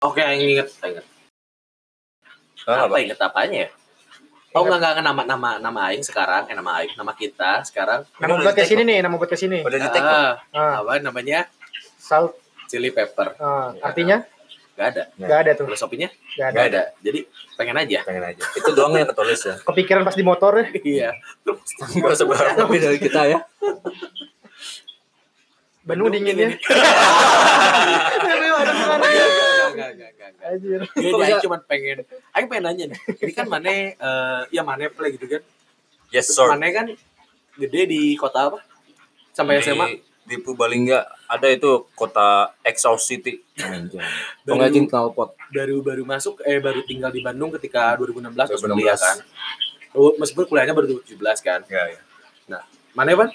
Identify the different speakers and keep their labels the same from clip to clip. Speaker 1: Oke, yang inget, inget. apa inget apanya ya? Oh enggak enggak enggak, nama nama nama aing sekarang, eh nama aing, nama kita sekarang.
Speaker 2: Nama
Speaker 3: Udah
Speaker 2: buat ke
Speaker 3: di-take
Speaker 2: sini nih, nama buat ke sini.
Speaker 3: Udah di tag belum?
Speaker 1: Ah,
Speaker 2: Ah,
Speaker 1: apa namanya?
Speaker 2: salt
Speaker 1: Chili pepper.
Speaker 2: ah, artinya
Speaker 1: Enggak ada.
Speaker 2: nggak ada tuh,
Speaker 1: Terus sopinya?
Speaker 2: nggak ada.
Speaker 1: Enggak ada. Jadi pengen aja.
Speaker 3: Iya, pengen aja. Itu doang yang ketulis ya.
Speaker 2: Kepikiran pas di motor ya.
Speaker 1: Iya.
Speaker 3: Enggak usah berharap lebih dari kita ya.
Speaker 2: Bandung ya. dinginnya. Aduh, aduh, aduh.
Speaker 1: Enggak enggak enggak enggak.
Speaker 2: Anjir.
Speaker 1: Iya,
Speaker 3: Kok
Speaker 1: jadi
Speaker 3: bisa?
Speaker 1: cuma pengen. Aku pengen nanya nih. Ini kan Mane, eh ya Mane play gitu kan.
Speaker 3: Yes
Speaker 1: Terus
Speaker 3: sir.
Speaker 1: Mane kan gede di kota apa? Sampai SMA.
Speaker 3: Di, di Purbalingga ada itu kota Exhaust City.
Speaker 1: Dari,
Speaker 4: Pengrajin knalpot.
Speaker 1: baru baru masuk, eh baru tinggal di Bandung ketika 2016 terus
Speaker 3: 2016.
Speaker 1: kuliah kan. Oh, Meskipun kuliahnya baru 2017 kan.
Speaker 3: Ya, ya.
Speaker 1: Mana Van?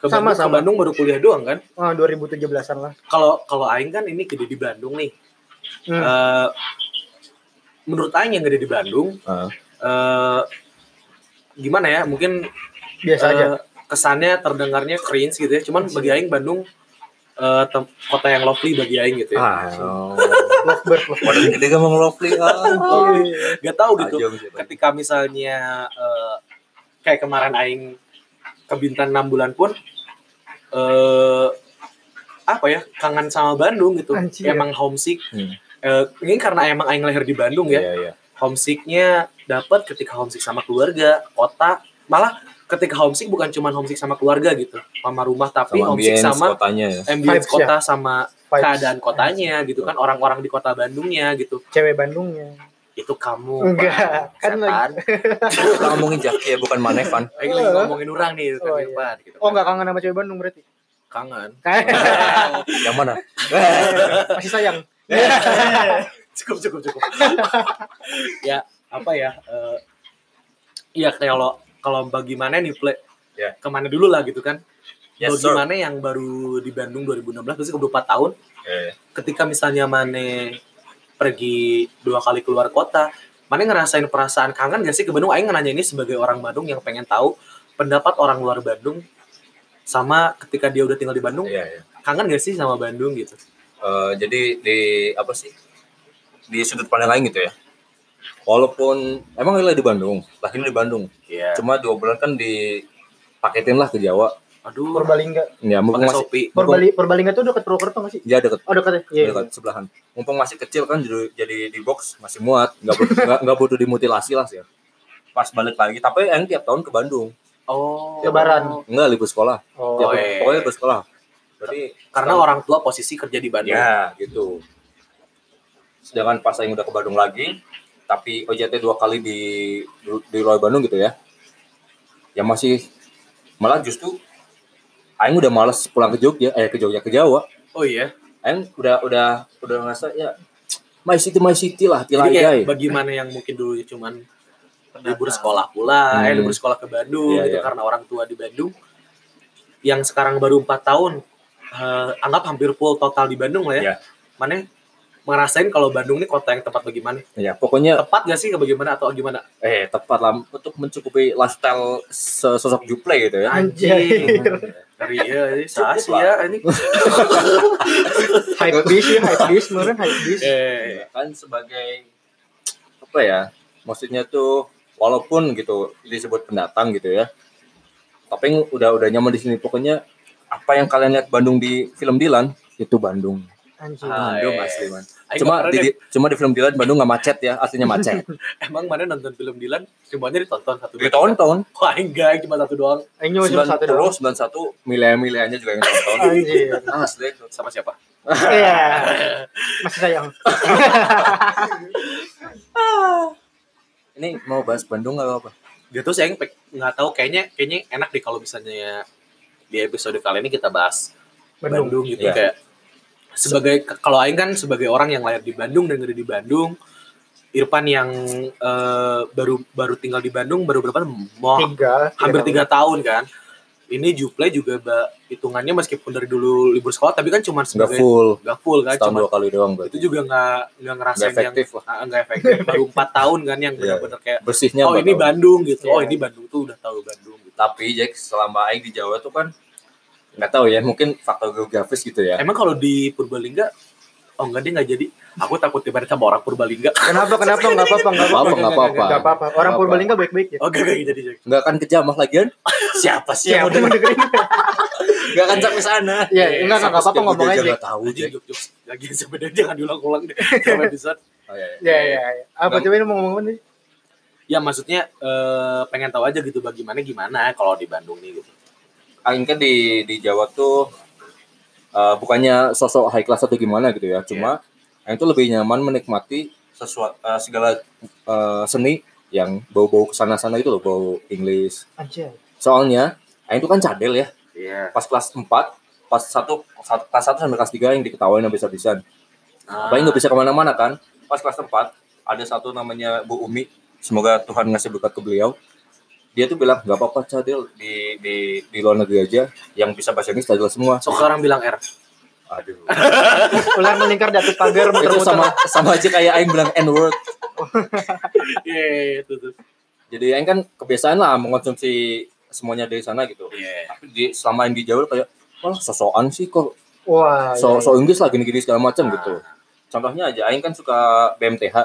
Speaker 1: Ke Bandung,
Speaker 2: Sama,
Speaker 1: ke
Speaker 2: sama.
Speaker 1: Bandung baru kuliah doang kan?
Speaker 2: Ah, 2017-an lah.
Speaker 1: Kalau kalau Aing kan ini gede di Bandung nih.
Speaker 2: Hmm.
Speaker 1: Eh, menurut Aing yang gede di Bandung,
Speaker 3: Ah.
Speaker 1: eh, gimana ya? Mungkin
Speaker 2: Biasa
Speaker 1: eh,
Speaker 2: aja.
Speaker 1: kesannya terdengarnya cringe gitu ya. Cuman bagi Aing Bandung eh, tem- kota yang lovely bagi Aing gitu ya.
Speaker 3: Ah,
Speaker 2: Lovebird, lovebird.
Speaker 3: Padahal gede gak mau ngelopli ah.
Speaker 2: Iya,
Speaker 1: Gak tau gitu.
Speaker 3: Tajam sih, Bang.
Speaker 1: Ketika misalnya eh, kayak kemarin Aing ke Bintan 6 bulan pun eh apa ya kangen sama Bandung gitu.
Speaker 2: Anjir.
Speaker 1: Emang homesick.
Speaker 3: Hmm.
Speaker 1: Eh, ini karena emang Aing lahir di Bandung ya.
Speaker 3: Iya, iya.
Speaker 1: homesicknya dapat ketika homesick sama keluarga kota malah ketika homesick bukan cuma homesick sama keluarga gitu sama rumah tapi
Speaker 3: Sama
Speaker 1: homesick
Speaker 3: ambience
Speaker 1: sama
Speaker 3: kotanya ya.
Speaker 1: ambience
Speaker 2: Vibes,
Speaker 1: kota sama
Speaker 2: Vibes.
Speaker 1: keadaan kotanya gitu kan orang-orang di kota Bandungnya gitu
Speaker 2: Cewek ya. Bandungnya.
Speaker 1: itu kamu
Speaker 2: Enggak,
Speaker 1: kan
Speaker 2: kan
Speaker 1: setan
Speaker 3: Kita ngomongin Jaki ya, bukan Manevan.
Speaker 1: Aing lagi ngomongin orang nih kan
Speaker 2: Oh,
Speaker 1: di
Speaker 2: iya.
Speaker 1: depan, gitu
Speaker 2: Oh,
Speaker 1: kan.
Speaker 2: enggak kangen sama cewek Bandung berarti.
Speaker 1: kangen
Speaker 3: Yang mana? iya.
Speaker 2: Masih sayang.
Speaker 1: cukup cukup cukup ya apa ya eh, ya kalau kalau bagaimana nih play
Speaker 3: Ya.
Speaker 1: kemana dulu lah gitu kan
Speaker 3: Yes, sir.
Speaker 1: bagaimana yang baru di Bandung 2016 berarti ke 24 tahun
Speaker 3: Eh,
Speaker 1: ketika misalnya Mane pergi dua kali keluar kota Mane ngerasain perasaan kangen gak sih ke Bandung Aing nanya ini sebagai orang Bandung yang pengen tahu pendapat orang luar Bandung sama ketika dia udah tinggal di Bandung
Speaker 3: Iya, iya.
Speaker 1: kangen gak sih sama Bandung gitu
Speaker 3: Eh, jadi di apa sih di sudut pandang lain gitu ya walaupun emang lahir di Bandung lahir di Bandung
Speaker 1: iya
Speaker 3: cuma dua bulan kan dipaketin lah ke Jawa
Speaker 1: aduh
Speaker 2: Purbalingga.
Speaker 3: ya mumpung
Speaker 1: pakai
Speaker 3: masih
Speaker 1: sopi
Speaker 2: Purbali Purbalingga tuh dekat Purwokerto enggak sih?
Speaker 3: ya deket
Speaker 2: Oh, dekat ya. Iya.
Speaker 3: deket sebelahan mumpung masih kecil kan jadi, jadi di box masih muat nggak butuh nggak- nggak butuh dimutilasi lah sih ya. pas balik lagi tapi yang tiap tahun ke Bandung
Speaker 1: oh
Speaker 2: Lebaran.
Speaker 3: enggak libur sekolah
Speaker 2: Oh.
Speaker 3: tiap,
Speaker 1: Oh, iya.
Speaker 3: pokoknya libur sekolah berarti
Speaker 1: karena orang tua posisi kerja di Bandung
Speaker 3: Ya, gitu. Sedangkan pas Aing udah ke Bandung lagi, tapi OJT dua kali di di luar Bandung gitu ya. Ya masih malah justru Aing udah males pulang ke Jogja, eh ke Jogja ke Jawa.
Speaker 1: oh iya
Speaker 3: Aing udah udah udah ngerasa ya my city my city lah
Speaker 1: jadi kayak
Speaker 3: tilai
Speaker 1: bagaimana yang mungkin dulu ya cuman libur sekolah pula eh
Speaker 3: Hmm.
Speaker 1: libur sekolah ke Bandung
Speaker 3: Iya,
Speaker 1: gitu
Speaker 3: iya.
Speaker 1: karena orang tua di Bandung yang sekarang baru empat tahun eh, anggap hampir full total di Bandung lah ya
Speaker 3: Iya.
Speaker 1: mana ngerasain kalau Bandung ini kota yang tempat bagaimana
Speaker 3: Ya pokoknya
Speaker 1: tepat gak sih ke bagaimana atau gimana
Speaker 3: eh tepat lah untuk mencukupi lifestyle se- sosok Juple gitu ya.
Speaker 2: Anjir.
Speaker 1: dari ya ini
Speaker 3: Cukup
Speaker 1: sasi ya ini
Speaker 2: Hype bis ya, hype bis, meren hype bis.
Speaker 1: eh
Speaker 3: kan sebagai apa ya maksudnya tuh walaupun gitu disebut pendatang gitu ya tapi yang udah udah nyaman di sini pokoknya apa yang kalian lihat Bandung di film Dilan itu Bandung
Speaker 2: Anjir.
Speaker 1: Ah,
Speaker 3: Bandung
Speaker 1: eh.
Speaker 3: asli man
Speaker 1: Aing
Speaker 3: cuma
Speaker 1: kemarin
Speaker 3: di,
Speaker 1: ya,
Speaker 3: di- cuma di film Dilan Bandung nggak macet ya aslinya macet
Speaker 1: emang mana nonton film Dilan semuanya ditonton satu
Speaker 3: di tahun-tahun
Speaker 1: wah enggak cuma satu doang
Speaker 2: Ini cuma satu doang.
Speaker 3: 90 91 milenial-milenialnya juga yang nonton Ah,
Speaker 2: Anjir.
Speaker 3: asli itu.
Speaker 1: sama siapa
Speaker 2: Iya. Masih sayang.
Speaker 3: ini mau bahas Bandung nggak apa
Speaker 1: gitu sih Aing pe- nggak tahu kayaknya kayaknya enak deh kalau misalnya di episode kali ini kita bahas Bandung,
Speaker 2: Bandung.
Speaker 1: gitu
Speaker 3: Iya.
Speaker 1: kayak sebagai kalau Aing kan sebagai orang yang lahir di Bandung dan gede di Bandung Irfan yang eh, baru baru tinggal di Bandung baru berapa mau
Speaker 2: Tiga.
Speaker 3: Ah,
Speaker 1: hampir tiga tahun kan ini Juple juga ba- hitungannya meskipun dari dulu libur sekolah tapi kan cuma
Speaker 3: nggak
Speaker 1: sebagai
Speaker 3: full
Speaker 1: nggak full kan
Speaker 3: setahun
Speaker 1: cuma
Speaker 3: dua kali doang
Speaker 1: itu
Speaker 3: berarti
Speaker 1: juga nggak nggak ngerasain
Speaker 3: nggak efektif lah
Speaker 1: yang ah, nggak efektif baru empat tahun kan yang
Speaker 3: Iya.
Speaker 1: benar-benar kayak
Speaker 3: bersihnya
Speaker 1: oh
Speaker 3: empat
Speaker 1: ini
Speaker 3: tahun.
Speaker 1: Bandung gitu oh
Speaker 2: Iya.
Speaker 1: ini Bandung tuh udah tahu Bandung gitu.
Speaker 3: tapi Jack selama Aing di Jawa tuh kan nggak tahu ya mungkin faktor geografis gitu ya
Speaker 1: Emang kalau di Purbalingga oh enggak dia nggak jadi aku takut tiba sama orang Purbalingga
Speaker 2: Kenapa kenapa enggak apa-apa enggak
Speaker 3: Nggak apa-apa, nggak apa-apa.
Speaker 2: Nggak apa-apa. Orang
Speaker 3: Nggak apa.
Speaker 2: Purbalingga baik-baik ya.
Speaker 1: oh enggak enggak jadi jadi.
Speaker 3: nggak akan kejamah lagian
Speaker 1: siapa sih
Speaker 2: Iya,
Speaker 1: yang udah
Speaker 2: udah dengerin.
Speaker 3: kan? nggak akan sampai sana
Speaker 2: Iya, enggak enggak
Speaker 3: Sampai
Speaker 2: apa-apa
Speaker 3: setiap
Speaker 2: ngomong
Speaker 3: udah
Speaker 2: aja.
Speaker 3: nggak tahu
Speaker 1: Anjing,
Speaker 3: Jack.
Speaker 1: jok, jok. lagi sebenarnya jangan diulang-ulang deh Jangan episode.
Speaker 3: Oh, iya, iya.
Speaker 2: Iya iya. iya. Apa
Speaker 3: Nggak-
Speaker 2: coba ini mau ngomong apa nih?
Speaker 1: ya maksudnya eh, pengen tahu aja gitu bagaimana gimana kalau di Bandung nih gitu
Speaker 3: Aing kan di di Jawa tuh eh, bukannya sosok high class atau gimana gitu ya cuma
Speaker 2: Iya.
Speaker 3: Aing tuh lebih nyaman menikmati sesuatu segala eh, seni yang bau-bau kesana-sana itu loh bau English
Speaker 2: Anjir.
Speaker 3: soalnya Aing tuh kan cadel ya
Speaker 1: Iya.
Speaker 3: pas kelas 4 pas satu sat- kelas satu sampai kelas 3 yang diketawain habis-habisan
Speaker 1: Ah.
Speaker 3: Apalagi nggak bisa kemana-mana kan. Pas kelas tempat ada satu namanya Bu Umi. Semoga Tuhan ngasih berkat ke beliau. Dia tuh bilang nggak apa-apa cadel di di di luar negeri aja yang bisa bahasa Inggris cadel semua.
Speaker 1: so sekarang bilang R
Speaker 3: Aduh.
Speaker 2: Ular melingkar di atas pagar
Speaker 3: itu
Speaker 2: muter-muter.
Speaker 3: sama sama aja kayak Aing bilang N word.
Speaker 1: iya itu tuh
Speaker 3: Jadi Aing kan kebiasaan lah mengkonsumsi semuanya dari sana gitu.
Speaker 1: iya
Speaker 3: Tapi di, selama Aing di Jawa kayak wah sosokan sih kok
Speaker 2: Wah. iya,
Speaker 3: so,
Speaker 2: iya. Ah.
Speaker 3: so Inggris lah gini-gini segala macam gitu. Contohnya aja Aing kan suka BMTH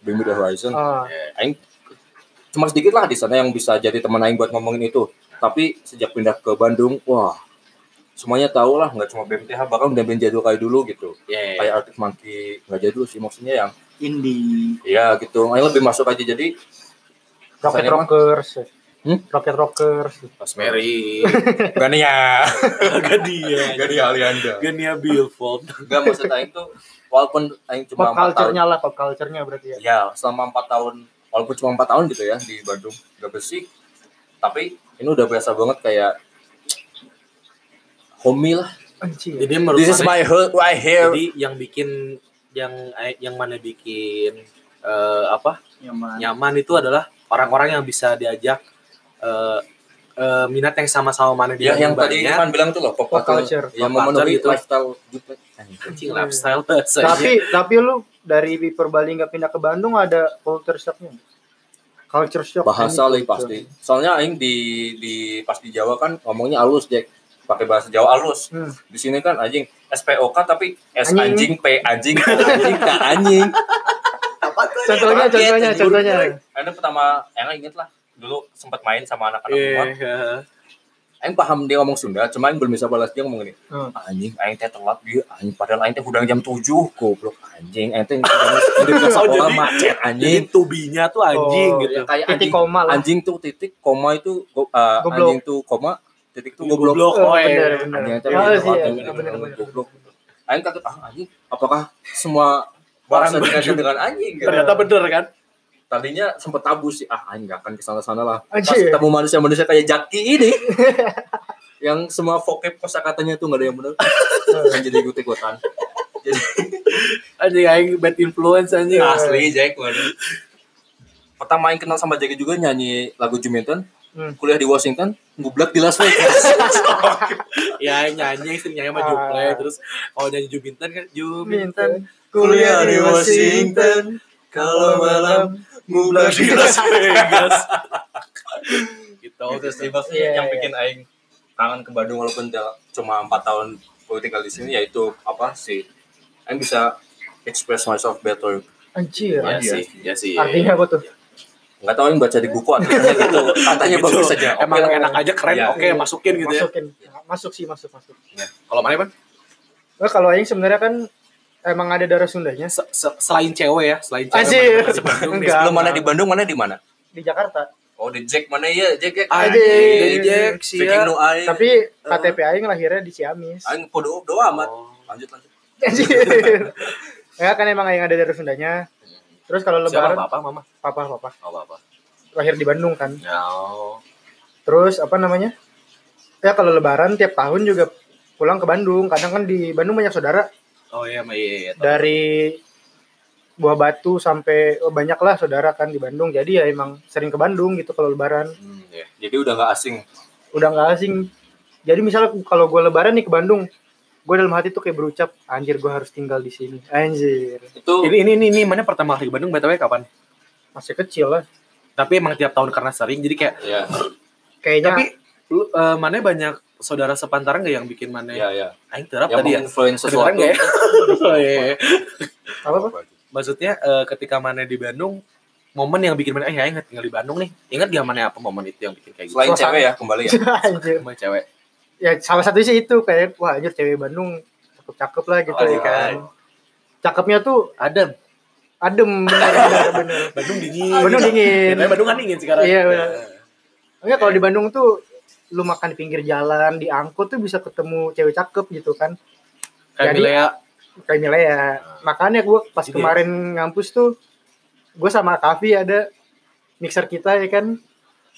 Speaker 3: Bumi Horizon.
Speaker 2: Ah,
Speaker 1: iya,
Speaker 3: aing cuma sedikit lah di sana yang bisa jadi teman aing buat ngomongin itu. Tapi sejak pindah ke Bandung, wah semuanya tahu lah nggak cuma BMTH bahkan udah band jadul kayak dulu gitu.
Speaker 1: iya iya.
Speaker 3: Kayak Arctic Monkey nggak jadul sih maksudnya yang
Speaker 2: indie.
Speaker 3: ya gitu. Aing lebih masuk aja jadi
Speaker 2: Rocket
Speaker 3: Kesannya mah,
Speaker 2: Rockers.
Speaker 3: Hmm?
Speaker 2: Rocket Rockers.
Speaker 1: Rosemary
Speaker 3: Gania,
Speaker 1: Gadia
Speaker 3: Gania Alianda.
Speaker 1: Gania Billfold
Speaker 3: Enggak maksud aing tuh walaupun aing cuma empat
Speaker 2: Pop
Speaker 3: tahun.
Speaker 2: culture-nya lah, pop culture-nya berarti ya.
Speaker 3: Ya, selama empat tahun walaupun cuma empat tahun gitu ya di Bandung nggak bersih. Tapi ini udah biasa banget kayak homie lah
Speaker 2: Anjir.
Speaker 1: jadi menurut mana,
Speaker 3: my hood right here.
Speaker 1: jadi yang bikin yang eh, yang mana bikin eh, apa
Speaker 2: Nyaman.
Speaker 1: nyaman itu adalah orang-orang yang bisa diajak eh, eh, minat yang sama-sama mana dia
Speaker 3: ya, yang tadi
Speaker 1: banyak.
Speaker 3: Irfan bilang tuh loh, pop
Speaker 2: Pop culture.
Speaker 3: culture. Yang
Speaker 1: Pop culture
Speaker 3: memenuhi
Speaker 1: gitu.
Speaker 3: lifestyle gitu.
Speaker 1: anjing lifestyle bahasa
Speaker 2: Tapi tapi lu dari Purbalingga pindah ke Bandung ada culture shocknya? Culture shock. kan?
Speaker 3: Bahasa lah
Speaker 2: ini
Speaker 3: pasti. Soalnya aing di di pas di Jawa kan ngomongnya alus, Jack. Pakai bahasa Jawa alus.
Speaker 2: Hmm.
Speaker 3: Di sini kan anjing SPOK tapi S
Speaker 2: Anjing.
Speaker 3: anjing, P anjing, O anjing, K anjing.
Speaker 2: Contohnya,
Speaker 3: Kaget,
Speaker 2: contohnya,
Speaker 3: anjing.
Speaker 2: contohnya.
Speaker 3: Karena pertama yang inget lah dulu sempat main sama anak-anak rumah.
Speaker 1: Iya.
Speaker 3: Aing paham dia ngomong Sunda, cuma aing belum bisa balas dia ngomong ini.
Speaker 2: Hmm.
Speaker 3: Anjing, aing teh telat dia. Anjing padahal aing teh udah jam 7. Goblok anjing, aing teh udah udah
Speaker 1: Oh,
Speaker 3: sekolah
Speaker 1: jadi-
Speaker 3: macet
Speaker 1: Jadi
Speaker 3: anjing.
Speaker 1: tubinya tuh anjing
Speaker 2: Oh,
Speaker 1: gitu.
Speaker 3: Ya, kayak
Speaker 2: Titik
Speaker 3: anjing,
Speaker 2: koma lah.
Speaker 3: anjing tuh titik koma itu go- eh,
Speaker 2: Goblok.
Speaker 3: anjing tuh koma titik tuh goblok.
Speaker 1: Goblok. Oh,
Speaker 2: Oh, bener,
Speaker 1: iya.
Speaker 2: bener.
Speaker 3: Anjing teh
Speaker 2: Oh,
Speaker 3: udah
Speaker 2: sih,
Speaker 3: telat,
Speaker 2: iya,
Speaker 3: anjing.
Speaker 2: bener, bener.
Speaker 3: goblok. Aing kaget ah anjing, apakah semua
Speaker 1: Orang
Speaker 3: bahasa dikaitkan
Speaker 1: Bandung.
Speaker 3: dengan anjing? gitu?
Speaker 1: Ternyata bener kan?
Speaker 3: tadinya sempet tabu sih ah anjing gak akan kesana sana lah pas
Speaker 2: Anjing.
Speaker 3: ketemu manusia manusia kayak Jaki ini yang semua vocab kosakatanya tuh gak ada yang benar kan jadi ikut ikutan jadi
Speaker 1: Anjing aing bad influence anjing.
Speaker 3: Jack waduh. pertama yang kenal sama Jaki juga nyanyi lagu Juminton
Speaker 2: Hmm.
Speaker 3: kuliah di Washington ngublak di Las Vegas
Speaker 1: Ya aing nyanyi sih nyanyi sama
Speaker 2: Ah.
Speaker 1: Juple terus kalau nyanyi Jumintan kan Jumintan.
Speaker 2: Minten. Kuliah di Washington.
Speaker 3: kalau
Speaker 2: malam
Speaker 3: ngublak
Speaker 1: Di Las Vegas. gitu
Speaker 3: itu
Speaker 1: terus
Speaker 3: sih maksudnya
Speaker 2: Iya,
Speaker 3: yang
Speaker 2: iya.
Speaker 3: bikin aing kangen ke Bandung walaupun da- cuma empat tahun gue tinggal di sini yaitu apa sih aing bisa express myself better
Speaker 2: Anjir.
Speaker 1: ya
Speaker 3: Iya.
Speaker 1: sih, ya sih.
Speaker 2: Artinya apa tuh?
Speaker 3: nggak tahu aing baca di buku atau gitu katanya
Speaker 1: Gitu.
Speaker 3: bagus saja Oke
Speaker 1: Emang
Speaker 3: lah.
Speaker 1: enak aja keren.
Speaker 3: Iya.
Speaker 1: Oke, masukin gitu ya.
Speaker 2: Masukin. Masuk sih, masuk, masuk.
Speaker 1: Kalau mana Pan?
Speaker 2: Nah, kalau Aing sebenarnya kan emang ada darah Sundanya
Speaker 1: Se- se- selain cewek ya, selain cewek.
Speaker 2: Anjir.
Speaker 1: mana- Bandung nih.
Speaker 2: Enggak.
Speaker 3: Lu mana di Bandung mana di mana
Speaker 2: di Jakarta.
Speaker 3: ya? oh di Jack mana ya Jack ya
Speaker 1: Anjing,
Speaker 2: Anjing.
Speaker 1: Jack, sia.
Speaker 3: Speaking no aing
Speaker 2: Tapi
Speaker 1: Eh,
Speaker 2: KTP Aing lahirnya di Ciamis.
Speaker 3: iya. aing podo doa amat
Speaker 1: Oh.
Speaker 3: lanjut lanjut
Speaker 2: Anjir. ya kan emang Aing ada darah Sundanya. Terus kalau
Speaker 1: Siapa
Speaker 2: lebaran,
Speaker 1: papa mama?
Speaker 2: papa, papa.
Speaker 1: Oh, papa.
Speaker 2: Lahir di Bandung kan.
Speaker 1: Ya.
Speaker 2: Terus apa namanya? Ya kalau lebaran tiap tahun juga pulang ke Bandung. Kadang kan di Bandung banyak saudara
Speaker 1: Oh iya, Ma, iya, iya. tau.
Speaker 2: dari Buah Batu sampai oh, banyak lah saudara kan di Bandung. Jadi ya emang sering ke Bandung gitu kalau lebaran.
Speaker 1: Hmm, iya.
Speaker 3: jadi udah nggak asing
Speaker 2: Udah nggak asing. Jadi misalnya kalau gue lebaran nih ke Bandung, gue dalam hati tuh kayak berucap, anjir gue harus tinggal di sini. Anjir.
Speaker 3: itu
Speaker 1: Oh. Ini ini ini, ini mana pertama kali ke Bandung btw kapan?
Speaker 2: Masih kecil lah.
Speaker 1: Tapi emang tiap tahun karena sering jadi kayak
Speaker 3: ya
Speaker 2: Kayaknya
Speaker 1: tapi lu eh, mana banyak saudara sepantaran gak yang bikin mana?
Speaker 3: Iya, iya.
Speaker 1: Aing terap
Speaker 3: Yang
Speaker 1: tadi ya.
Speaker 3: menginfluence
Speaker 1: Kedengeran
Speaker 3: sesuatu.
Speaker 1: nggak ya? Oh, iya, iya.
Speaker 2: Apa apa?
Speaker 1: Maksudnya eh, ketika mana di Bandung, momen yang bikin mana, eh Aing tinggal di Bandung nih. Ingat gak mana apa momen itu yang bikin kayak gitu?
Speaker 3: Selain
Speaker 2: Suasana.
Speaker 3: cewek ya, kembali ya.
Speaker 2: Anjir.
Speaker 1: Sama cewek.
Speaker 2: Ya salah satunya sih itu kayak wah anjir cewek Bandung cakep-cakep lah gitu
Speaker 3: Oh,
Speaker 2: ya kan. Cakepnya tuh
Speaker 1: Ada.
Speaker 2: adem bener bener. bener.
Speaker 1: Bandung dingin.
Speaker 2: Bandung dingin.
Speaker 1: Katanya Bandung kan dingin sekarang.
Speaker 2: Iya,
Speaker 1: Ya.
Speaker 2: benar. Enggak kalau di Bandung tuh lu makan di pinggir jalan, di angkot tuh bisa ketemu cewek cakep gitu kan.
Speaker 1: Kayak
Speaker 2: Jadi-
Speaker 1: Milea.
Speaker 2: Kayak Milea. Makanya gua pas
Speaker 1: Jadi-
Speaker 2: kemarin ngampus tuh gua sama Kavi ada mixer kita ya kan.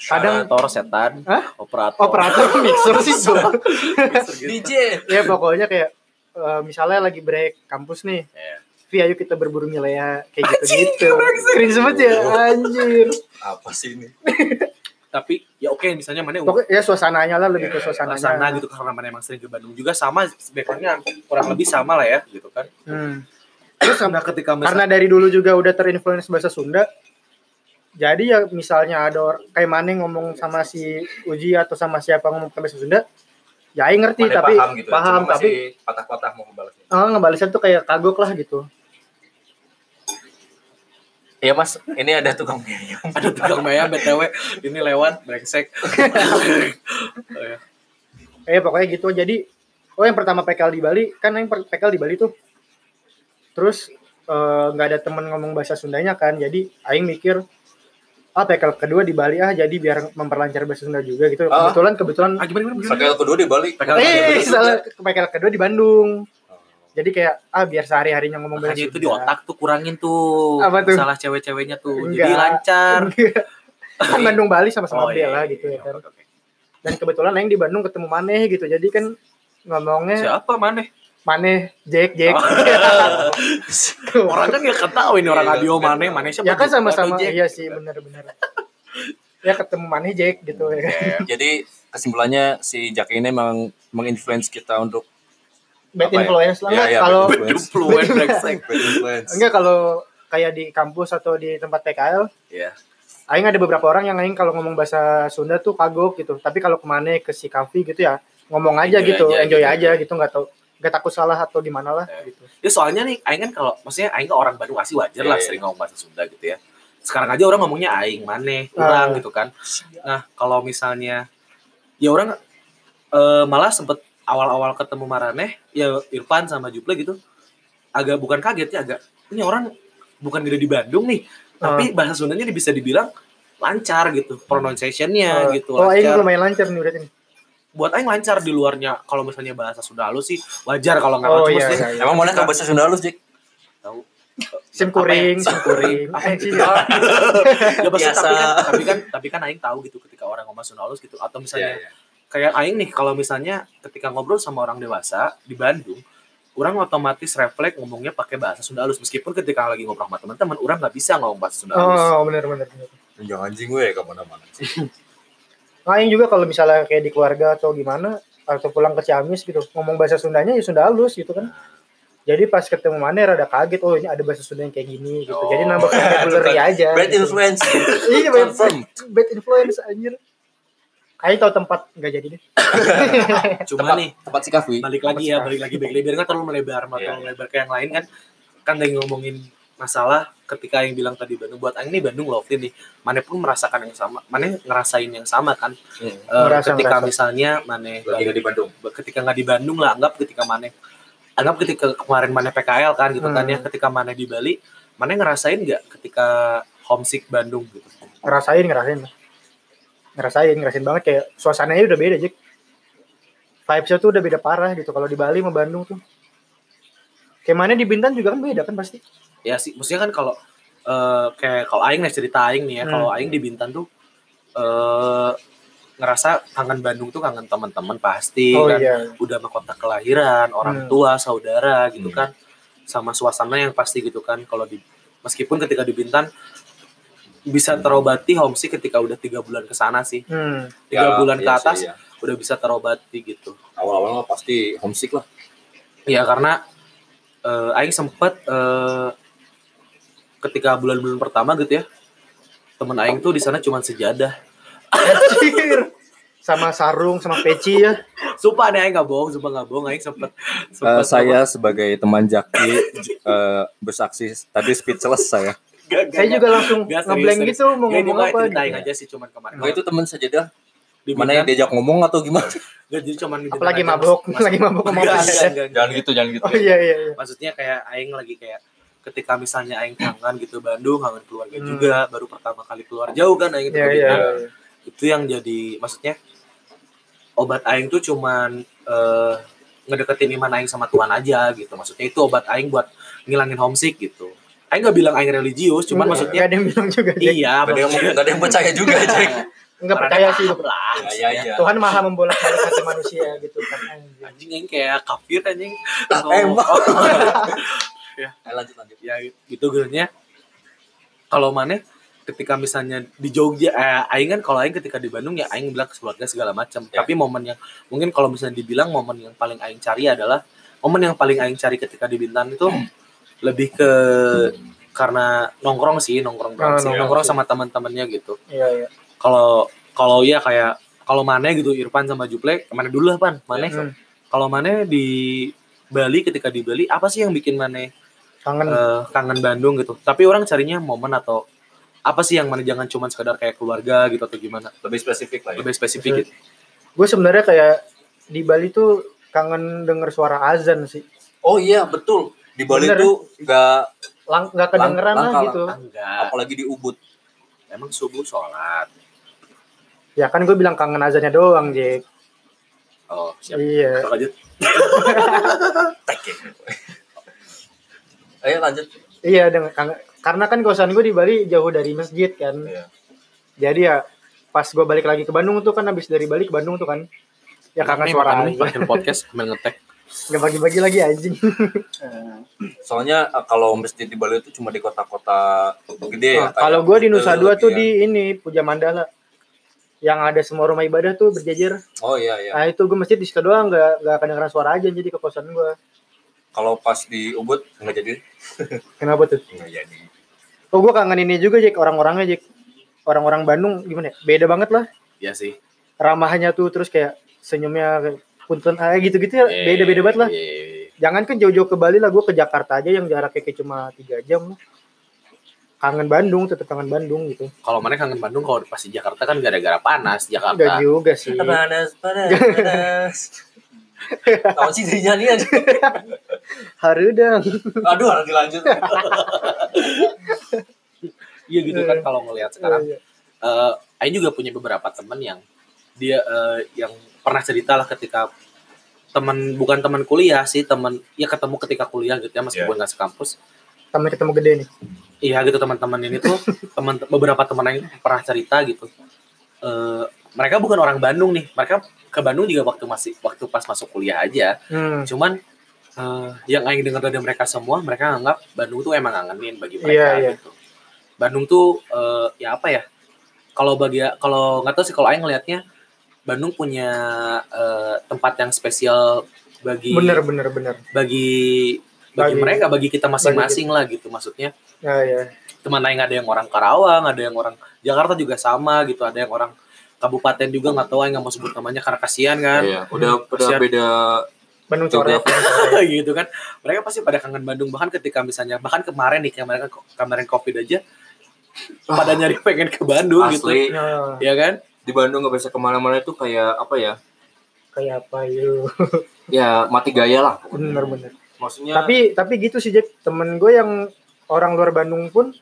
Speaker 2: Kadang-
Speaker 1: Operator setan.
Speaker 2: Hah?
Speaker 1: Operator.
Speaker 2: Operator mixer sih gua.
Speaker 1: Gitu.
Speaker 3: DJ.
Speaker 2: ya pokoknya kayak eh, misalnya lagi break kampus nih
Speaker 1: Iya.
Speaker 2: Vi ayo kita berburu milea kayak gitu gitu keren banget ya anjir
Speaker 3: Apa sih ini?
Speaker 1: Tapi ya oke misalnya mana
Speaker 2: pokoknya ya suasananya lah lebih ke suasananya
Speaker 1: suasana gitu karena mana emang sering ke Bandung juga sama backgroundnya kurang lebih sama lah ya gitu kan
Speaker 2: Hmm.
Speaker 1: terus nah ketika
Speaker 2: karena
Speaker 1: misalnya
Speaker 2: dari dulu juga udah terinfluence bahasa Sunda jadi ya misalnya ada or- kayak Mane ngomong sama si Uji atau sama siapa ngomong pakai bahasa Sunda ya Aing ngerti
Speaker 3: Mana
Speaker 2: tapi
Speaker 3: paham gitu ya.
Speaker 2: paham,
Speaker 3: cuma
Speaker 2: tapi
Speaker 3: masih patah-patah mau ngebalasnya.
Speaker 2: eh, ngebalasnya tuh kayak kagok lah gitu
Speaker 3: Iya mas, ini ada tukang meyong.
Speaker 1: ada tukang maya btw ini lewat brengsek Oh, ya.
Speaker 2: Eh pokoknya gitu. Jadi oh yang pertama PKL di Bali kan yang per- PKL di Bali tuh. Terus eh, nggak ada temen ngomong bahasa Sundanya kan. Jadi aing mikir ah PKL kedua di Bali ah jadi biar memperlancar bahasa Sunda juga gitu.
Speaker 3: Ah.
Speaker 2: Kebetulan kebetulan
Speaker 1: ah gimana gimana, gimana?
Speaker 3: Pakai kedua di Bali.
Speaker 1: PKL kedua di
Speaker 2: eh
Speaker 1: Bali.
Speaker 2: salah ke PKL kedua di Bandung. Jadi kayak ah biar sehari-harinya ngomong bahasa
Speaker 1: makanya
Speaker 2: Sunda.
Speaker 1: itu di otak tuh kurangin tuh
Speaker 2: Apa tuh?
Speaker 1: salah cewek-ceweknya tuh jadi
Speaker 2: Enggak.
Speaker 1: lancar
Speaker 2: Kan Bandung Bali sama-sama
Speaker 1: iya,
Speaker 2: beda lah
Speaker 1: iya,
Speaker 2: gitu ya
Speaker 1: iya,
Speaker 2: kan.
Speaker 1: oke, oke.
Speaker 2: Dan kebetulan aing di Bandung ketemu Maneh gitu. Jadi kan ngomongnya
Speaker 1: siapa mana
Speaker 2: Maneh Jack Jack.
Speaker 1: Oh. orang kan gak tahu ini orang
Speaker 3: Iya,
Speaker 1: radio
Speaker 3: kan.
Speaker 1: mana mana siapa
Speaker 2: ya
Speaker 1: juga,
Speaker 2: kan sama-sama
Speaker 1: Jack.
Speaker 3: gitu.
Speaker 2: iya sih benar-benar ya ketemu Maneh Jack gitu ya
Speaker 3: Hmm.
Speaker 2: kan.
Speaker 3: Jadi kesimpulannya si Jack ini memang menginfluence kita untuk
Speaker 2: bad
Speaker 3: Apa ya?
Speaker 2: influence lah
Speaker 3: Iya,
Speaker 2: enggak
Speaker 3: iya, bad
Speaker 2: kalau
Speaker 3: influence.
Speaker 1: Dupluan brengsek
Speaker 3: bad influence.
Speaker 2: enggak kalau kayak di kampus atau di tempat PKL
Speaker 1: ya
Speaker 2: aing ada beberapa orang yang aing kalau ngomong bahasa Sunda tuh kagok gitu tapi kalau ke Maneh ke si Kavi gitu ya ngomong aja
Speaker 3: Enjoy
Speaker 2: gitu
Speaker 3: aja
Speaker 2: enjoy
Speaker 3: gitu.
Speaker 2: aja gitu nggak tahu nggak takut salah atau gimana lah gitu
Speaker 1: Ya soalnya nih Aing kan kalau maksudnya Aing kan orang Bandung asli wajar lah
Speaker 3: Iya, iya.
Speaker 1: sering ngomong bahasa Sunda gitu ya. Sekarang aja orang ngomongnya Aing maneh kurang
Speaker 2: Ah.
Speaker 1: gitu kan. Nah kalau misalnya ya orang eh, malah sempet awal-awal ketemu Maraneh ya Irfan sama Juple gitu agak bukan kaget ya agak ini orang bukan gede di Bandung nih
Speaker 2: Ah.
Speaker 1: tapi bahasa Sundanya dia bisa dibilang lancar gitu
Speaker 3: Ya,
Speaker 1: pronunciationnya
Speaker 2: Eh,
Speaker 1: gitu
Speaker 2: oh aing
Speaker 1: lancar.
Speaker 2: lumayan lancar nih udah ini
Speaker 1: buat Aing lancar di luarnya kalau misalnya bahasa Sunda halus sih wajar kalau nggak lancar
Speaker 2: oh iya,
Speaker 1: maksudnya
Speaker 2: iya, iya.
Speaker 3: Emang mana kabar Sunda lu, Jack?
Speaker 1: tahu Apa ya?
Speaker 2: sim kuring sim kuring Eh, sih, ya.
Speaker 1: ya pasti
Speaker 3: Biasa.
Speaker 1: tapi kan tapi kan tapi kan aing tahu gitu ketika orang ngomong Sunda halus gitu atau
Speaker 3: Iya,
Speaker 1: misalnya kayak aing nih kalau misalnya ketika ngobrol sama orang dewasa di Bandung orang otomatis refleks ngomongnya pakai bahasa Sunda halus meskipun ketika lagi ngobrol sama teman-teman orang nggak bisa ngomong bahasa Sunda halus
Speaker 2: oh benar-benar
Speaker 3: Jangan anjing gue ya kemana-mana.
Speaker 2: Nah, Aing juga kalau misalnya kayak di keluarga atau gimana atau pulang ke Ciamis gitu ngomong bahasa Sundanya ya Sunda halus gitu kan jadi pas ketemu Mane rada kaget oh ini ada bahasa Sunda yang kayak gini gitu jadi
Speaker 1: Oh.
Speaker 2: nambah vocabulary aja
Speaker 3: Bad
Speaker 2: gitu.
Speaker 3: influence.
Speaker 2: iya bad,
Speaker 3: Confirm.
Speaker 2: bad influence anjir Aing tahu tempat nggak jadi deh
Speaker 1: cuma
Speaker 3: Tempat,
Speaker 1: nih
Speaker 3: tempat si Kavi.
Speaker 1: balik lagi ya balik lagi balik lagi biar nggak terlalu melebar nggak
Speaker 3: Iya.
Speaker 1: terlalu melebar ke yang lain kan kan lagi ngomongin masalah ketika yang bilang tadi Bandung buat Aing nih Bandung lovely nih mana pun merasakan yang sama mana ngerasain yang sama kan Eh,
Speaker 2: Merasa,
Speaker 1: ketika
Speaker 2: merasa.
Speaker 1: misalnya Mane
Speaker 3: Lagi
Speaker 1: balik-
Speaker 3: di Bandung.
Speaker 1: ketika nggak di Bandung lah anggap ketika Mane anggap ketika kemarin Mane PKL kan gitu kan
Speaker 2: Hmm.
Speaker 1: ya ketika Mane di Bali Mane ngerasain nggak ketika homesick Bandung gitu
Speaker 2: ngerasain ngerasain ngerasain ngerasain banget kayak suasananya udah beda Jack vibesnya tuh udah beda parah gitu kalau di Bali sama Bandung tuh kayak mana di Bintan juga kan beda kan pasti
Speaker 1: ya sih maksudnya kan kalau eh, kayak kalau Aing nih cerita Aing nih ya
Speaker 2: Hmm.
Speaker 1: kalau Aing di Bintan tuh eh ngerasa kangen Bandung tuh kangen teman-teman pasti
Speaker 2: oh
Speaker 1: kan
Speaker 2: iya
Speaker 1: udah sama kota kelahiran orang
Speaker 2: Hmm.
Speaker 1: tua saudara gitu
Speaker 3: Hmm.
Speaker 1: kan sama suasana yang pasti gitu kan kalau di meskipun ketika di Bintan bisa
Speaker 3: Iya.
Speaker 1: terobati homesick ketika udah tiga bulan ke sana sih
Speaker 2: hmm.
Speaker 1: tiga
Speaker 3: Ya,
Speaker 1: bulan ke
Speaker 3: iya sih,
Speaker 1: atas
Speaker 3: iya.
Speaker 1: udah bisa terobati gitu
Speaker 3: Awal-awal mah pasti homesick lah.
Speaker 1: ya karena eh, Aing sempet eh, ketika bulan-bulan pertama gitu ya temen Aing tuh di sana cuma sejadah
Speaker 2: Anjir. sama sarung sama peci ya
Speaker 1: Sumpah nih, Aing nggak bohong, sumpah nggak bohong, Aing sempet,
Speaker 3: Eh,
Speaker 1: sempet
Speaker 3: saya sebagai teman Jaki eh, bersaksi tadi speechless saya.
Speaker 1: Nggak, nggak,
Speaker 2: saya
Speaker 1: nggak.
Speaker 2: juga langsung
Speaker 1: Nggak, serius,
Speaker 2: ngeblank
Speaker 1: serius.
Speaker 2: gitu mau
Speaker 1: Nggak, ini
Speaker 2: ngomong
Speaker 1: mah
Speaker 2: apa
Speaker 1: ceritain
Speaker 2: gitu.
Speaker 1: aja sih cuman kemarin.
Speaker 3: Enggak Nah, itu teman sajadah.
Speaker 1: Di
Speaker 3: Mana ya, yang diajak ngomong atau gimana?
Speaker 1: Nggak, jadi cuman dibilang
Speaker 2: apalagi
Speaker 1: aja, Mas-
Speaker 2: mabok
Speaker 1: Mas-
Speaker 2: lagi mabok ngomong
Speaker 1: Nggak, nggak,
Speaker 2: apa sih.
Speaker 1: nggak, nggak.
Speaker 3: jangan gitu, jangan gitu.
Speaker 2: oh iya iya iya
Speaker 1: maksudnya kayak aing lagi kayak ketika misalnya aing kangen gitu Bandung kangen keluarga
Speaker 2: Hmm.
Speaker 1: juga baru pertama kali keluar jauh kan aing ke
Speaker 2: iya iya
Speaker 1: Padinah. itu yang jadi maksudnya obat aing tuh cuman eh, ngedeketin iman aing sama Tuhan aja gitu maksudnya itu obat aing buat ngilangin homesick gitu aing nggak bilang aing religius cuman
Speaker 2: Nggak-
Speaker 1: maksudnya
Speaker 2: nggak ada yang bilang juga Jack.
Speaker 1: iya
Speaker 3: Gak ada yang
Speaker 1: maksudnya-
Speaker 3: gak ada yang percaya juga, Jack.
Speaker 2: gitu. nggak percaya sih
Speaker 1: Paham lah
Speaker 3: Ya ya ya.
Speaker 2: Tuhan maha membolak balik hati manusia gitu kan anjing.
Speaker 1: anjing aing kayak kafir anjing
Speaker 3: Emang. Eh, lanjut lanjut.
Speaker 1: ya gitu gernya kalau mana ketika misalnya di Jogja eh, aing kan kalau aing ketika di Bandung ya aing bilang ke keluarga segala macam
Speaker 3: Ya.
Speaker 1: tapi momen yang mungkin kalau misalnya dibilang momen yang paling aing cari adalah momen yang paling aing cari ketika di Bintan itu lebih ke karena nongkrong sih nongkrong
Speaker 2: Ah,
Speaker 1: nongkrong,
Speaker 2: nongkrong
Speaker 1: sama teman-temannya gitu
Speaker 2: iya iya
Speaker 1: kalau kalau ya kayak kalau mana gitu Irfan sama Juple mana dulu lah pan mana
Speaker 2: Hmm,
Speaker 1: kalau mana di Bali ketika di Bali apa sih yang bikin mana
Speaker 2: kangen
Speaker 1: eh, kangen Bandung gitu. Tapi orang carinya momen atau apa sih yang mana jangan cuma sekedar kayak keluarga gitu atau gimana?
Speaker 3: Lebih spesifik lah ya.
Speaker 1: Lebih spesifik gitu.
Speaker 2: gue sebenarnya kayak di Bali tuh kangen denger suara azan sih
Speaker 3: Oh iya, betul. Di Bali
Speaker 2: Bener.
Speaker 3: tuh gak
Speaker 2: Lang nggak kedengeran lah
Speaker 3: langka-
Speaker 2: gitu
Speaker 1: Ah, Enggak.
Speaker 3: apalagi di Ubud.
Speaker 1: Emang subuh sholat.
Speaker 2: ya kan gue bilang kangen azannya doang Jack
Speaker 1: Oh, siap.
Speaker 2: iya
Speaker 1: Lanjut.
Speaker 3: Tek. Ayo Eh, lanjut.
Speaker 2: iya dengan kangen- karena kan kosan gue di Bali jauh dari masjid kan
Speaker 3: Iya.
Speaker 2: jadi ya pas gue balik lagi ke Bandung tuh kan habis dari Bali ke Bandung tuh kan ya kangen
Speaker 1: Ini
Speaker 2: suara
Speaker 1: makan nih,
Speaker 2: azan
Speaker 1: bikin podcast sambil ngetek.
Speaker 2: nggak bagi-bagi lagi anjing
Speaker 3: Iya, Soalnya eh, kalau masjid di Bali itu cuma di kota-kota gede ya. kayak
Speaker 2: Nah, kalau gue di
Speaker 3: Kuta,
Speaker 2: Nusa Dua tuh
Speaker 3: iya.
Speaker 2: di ini Puja Mandala yang ada semua rumah ibadah tuh berjejer
Speaker 3: Oh iya iya.
Speaker 2: nah itu gue masjid di situ doang nggak nggak kedengeran suara azan jadi ke kosan gue
Speaker 3: Kalau pas di Ubud nggak jadi.
Speaker 2: kenapa tuh
Speaker 3: Nggak jadi.
Speaker 2: Oh gue kangen ini juga Jack orang-orangnya Jack orang-orang Bandung gimana ya? beda banget lah
Speaker 1: Ya sih.
Speaker 2: ramahnya tuh terus kayak senyumnya kayak, punten ah gitu-gitu ya beda-beda banget lah
Speaker 1: Iya.
Speaker 2: jangan kan jauh-jauh ke Bali lah gue ke Jakarta aja yang jaraknya kayak cuma tiga jam kangen Bandung tetap kangen Bandung gitu
Speaker 1: Kalau mana kangen Bandung kalau pas di Jakarta kan gara-gara panas
Speaker 2: enggak
Speaker 1: Jakarta.
Speaker 2: juga sih
Speaker 3: Panas panas panas. Tahun sih jadi nyanyian.
Speaker 2: harudang
Speaker 3: Aduh harus dilanjut.
Speaker 1: Iya gitu kan kalau ngelihat sekarang
Speaker 2: Iya, iya.
Speaker 1: eh Aing juga punya beberapa teman yang dia eh, yang pernah cerita lah ketika teman bukan teman kuliah sih teman ya ketemu ketika kuliah gitu ya meskipun
Speaker 2: Iya.
Speaker 1: nggak sekampus
Speaker 2: temen ketemu gede nih
Speaker 1: iya gitu teman-teman ini tuh teman beberapa teman yang pernah cerita gitu Eh mereka bukan orang Bandung nih mereka ke Bandung juga waktu masih waktu pas masuk kuliah aja
Speaker 2: hmm.
Speaker 1: cuman eh, yang Aing dengar dari mereka semua mereka nganggap Bandung tuh emang ngangenin bagi mereka
Speaker 2: Iya, iya.
Speaker 1: gitu Bandung tuh eh, ya apa ya kalau bagi kalau nggak tahu sih kalau Aing ngelihatnya Bandung punya eh, tempat yang spesial bagi
Speaker 2: bener bener bener
Speaker 1: bagi bagi
Speaker 2: Bagi-
Speaker 1: mereka bagi kita masing-masing lah gitu maksudnya
Speaker 2: ya ya
Speaker 1: teman Aing ada yang orang Karawang ada yang orang Jakarta juga sama gitu ada yang orang kabupaten juga nggak tahu Aing nggak mau sebut namanya karena kasihan kan
Speaker 3: Iya, udah udah
Speaker 1: Kasihan.
Speaker 3: beda
Speaker 2: Bandung coret
Speaker 3: Iya.
Speaker 1: gitu kan mereka pasti pada kangen Bandung bahkan ketika misalnya bahkan kemarin nih kemarin kemarin covid aja pada nyari pengen ke Bandung gitu
Speaker 3: Ah. asli.
Speaker 2: Nah,
Speaker 1: ya kan
Speaker 3: Di Bandung nggak bisa kemana-mana itu kayak apa ya?
Speaker 2: kayak apa yuk
Speaker 3: Ya mati gaya lah.
Speaker 2: bener bener
Speaker 1: Ya.
Speaker 3: Maksudnya
Speaker 2: tapi tapi gitu sih Jack temen gue yang orang luar Bandung pun